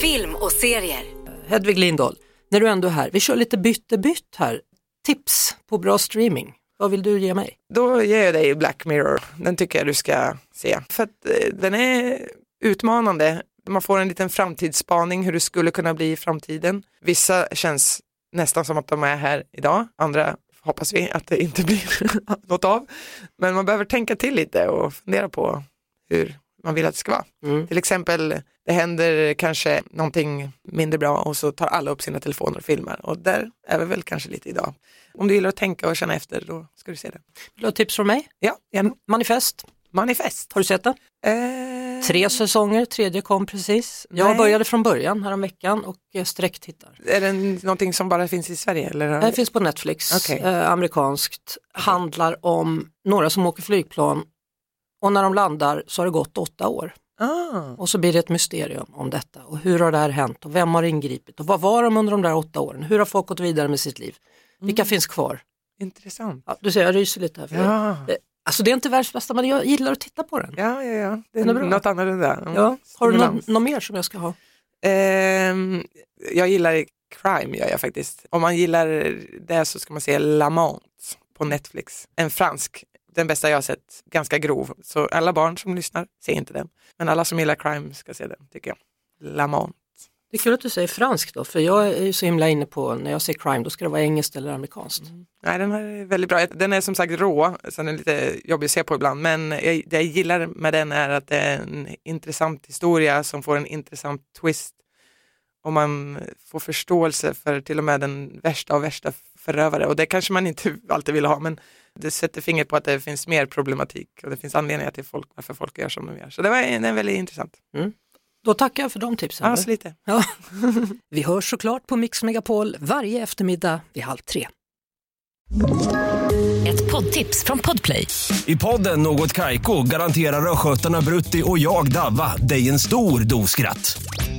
Film och serier. Hedvig Lindahl, när du ändå är här, vi kör lite bytte-bytt här. Tips på bra streaming, vad vill du ge mig? Då ger jag dig Black Mirror. Den tycker jag du ska se. För att eh, den är utmanande. Man får en liten framtidsspaning hur det skulle kunna bli i framtiden. Vissa känns nästan som att de är här idag. Andra hoppas vi att det inte blir något av. Men man behöver tänka till lite och fundera på hur man vill att det ska vara. Till exempel, det händer kanske någonting mindre bra och så tar alla upp sina telefoner och filmar. Och där är vi väl kanske lite idag. Om du gillar att tänka och känna efter, då ska du se det. Vill du ha tips från mig? Ja, en Manifest, manifest. har du sett den? Eh, Tre säsonger, tredje kom precis. Jag Nej. började från början häromveckan och eh, sträcktittar. Är det någonting som bara finns i Sverige? Eller? Det finns på Netflix, Okej. eh, amerikanskt, handlar om några som åker flygplan och när de landar så har det gått åtta år. ah, Och så blir det ett mysterium om detta och hur har det här hänt och vem har ingripit och vad var de under de där åtta åren? Hur har folk gått vidare med sitt liv? Vilka finns kvar? intressant. Ja, du ser, jag ryser lite här. För det. Mm. Ja, Eh, Alltså det är inte världens bästa men jag gillar att titta på den. ja, ja, ja. det Den är är bra. något annorlunda. Mm. Ja. Har du Stimulans. något, något mer som jag ska ha? Ehm, jag gillar crime, gör jag faktiskt. Om man gillar det så ska man se Lamont på Netflix. En fransk, den bästa jag har sett, ganska grov. Så alla barn som lyssnar, se inte den. Men alla som gillar crime ska se den, tycker jag. Lamont. Det är kul att du säger fransk då, för jag är ju så himla inne på när jag säger crime, då ska det vara engelskt eller amerikanskt. Nej, den här är väldigt bra. Den är som sagt rå, så den är lite jobbig att se på ibland. Men jag, det jag gillar med den är att det är en intressant historia som får en intressant twist. Och man får förståelse för till och med den värsta av värsta förövare. Och det kanske man inte alltid vill ha, men det sätter fingret på att det finns mer problematik och det finns anledningar till folk, varför folk gör som de gör. Så det var den är väldigt intressant. Då tackar jag för de tipsen. Ja, så lite. Ja. Vi hörs såklart på Mix Megapol varje eftermiddag vid halv tre. Ett poddtips från Podplay. I podden Något Kaiko garanterar östgötarna Brutti och jag, Davva, dig en stor dos skratt.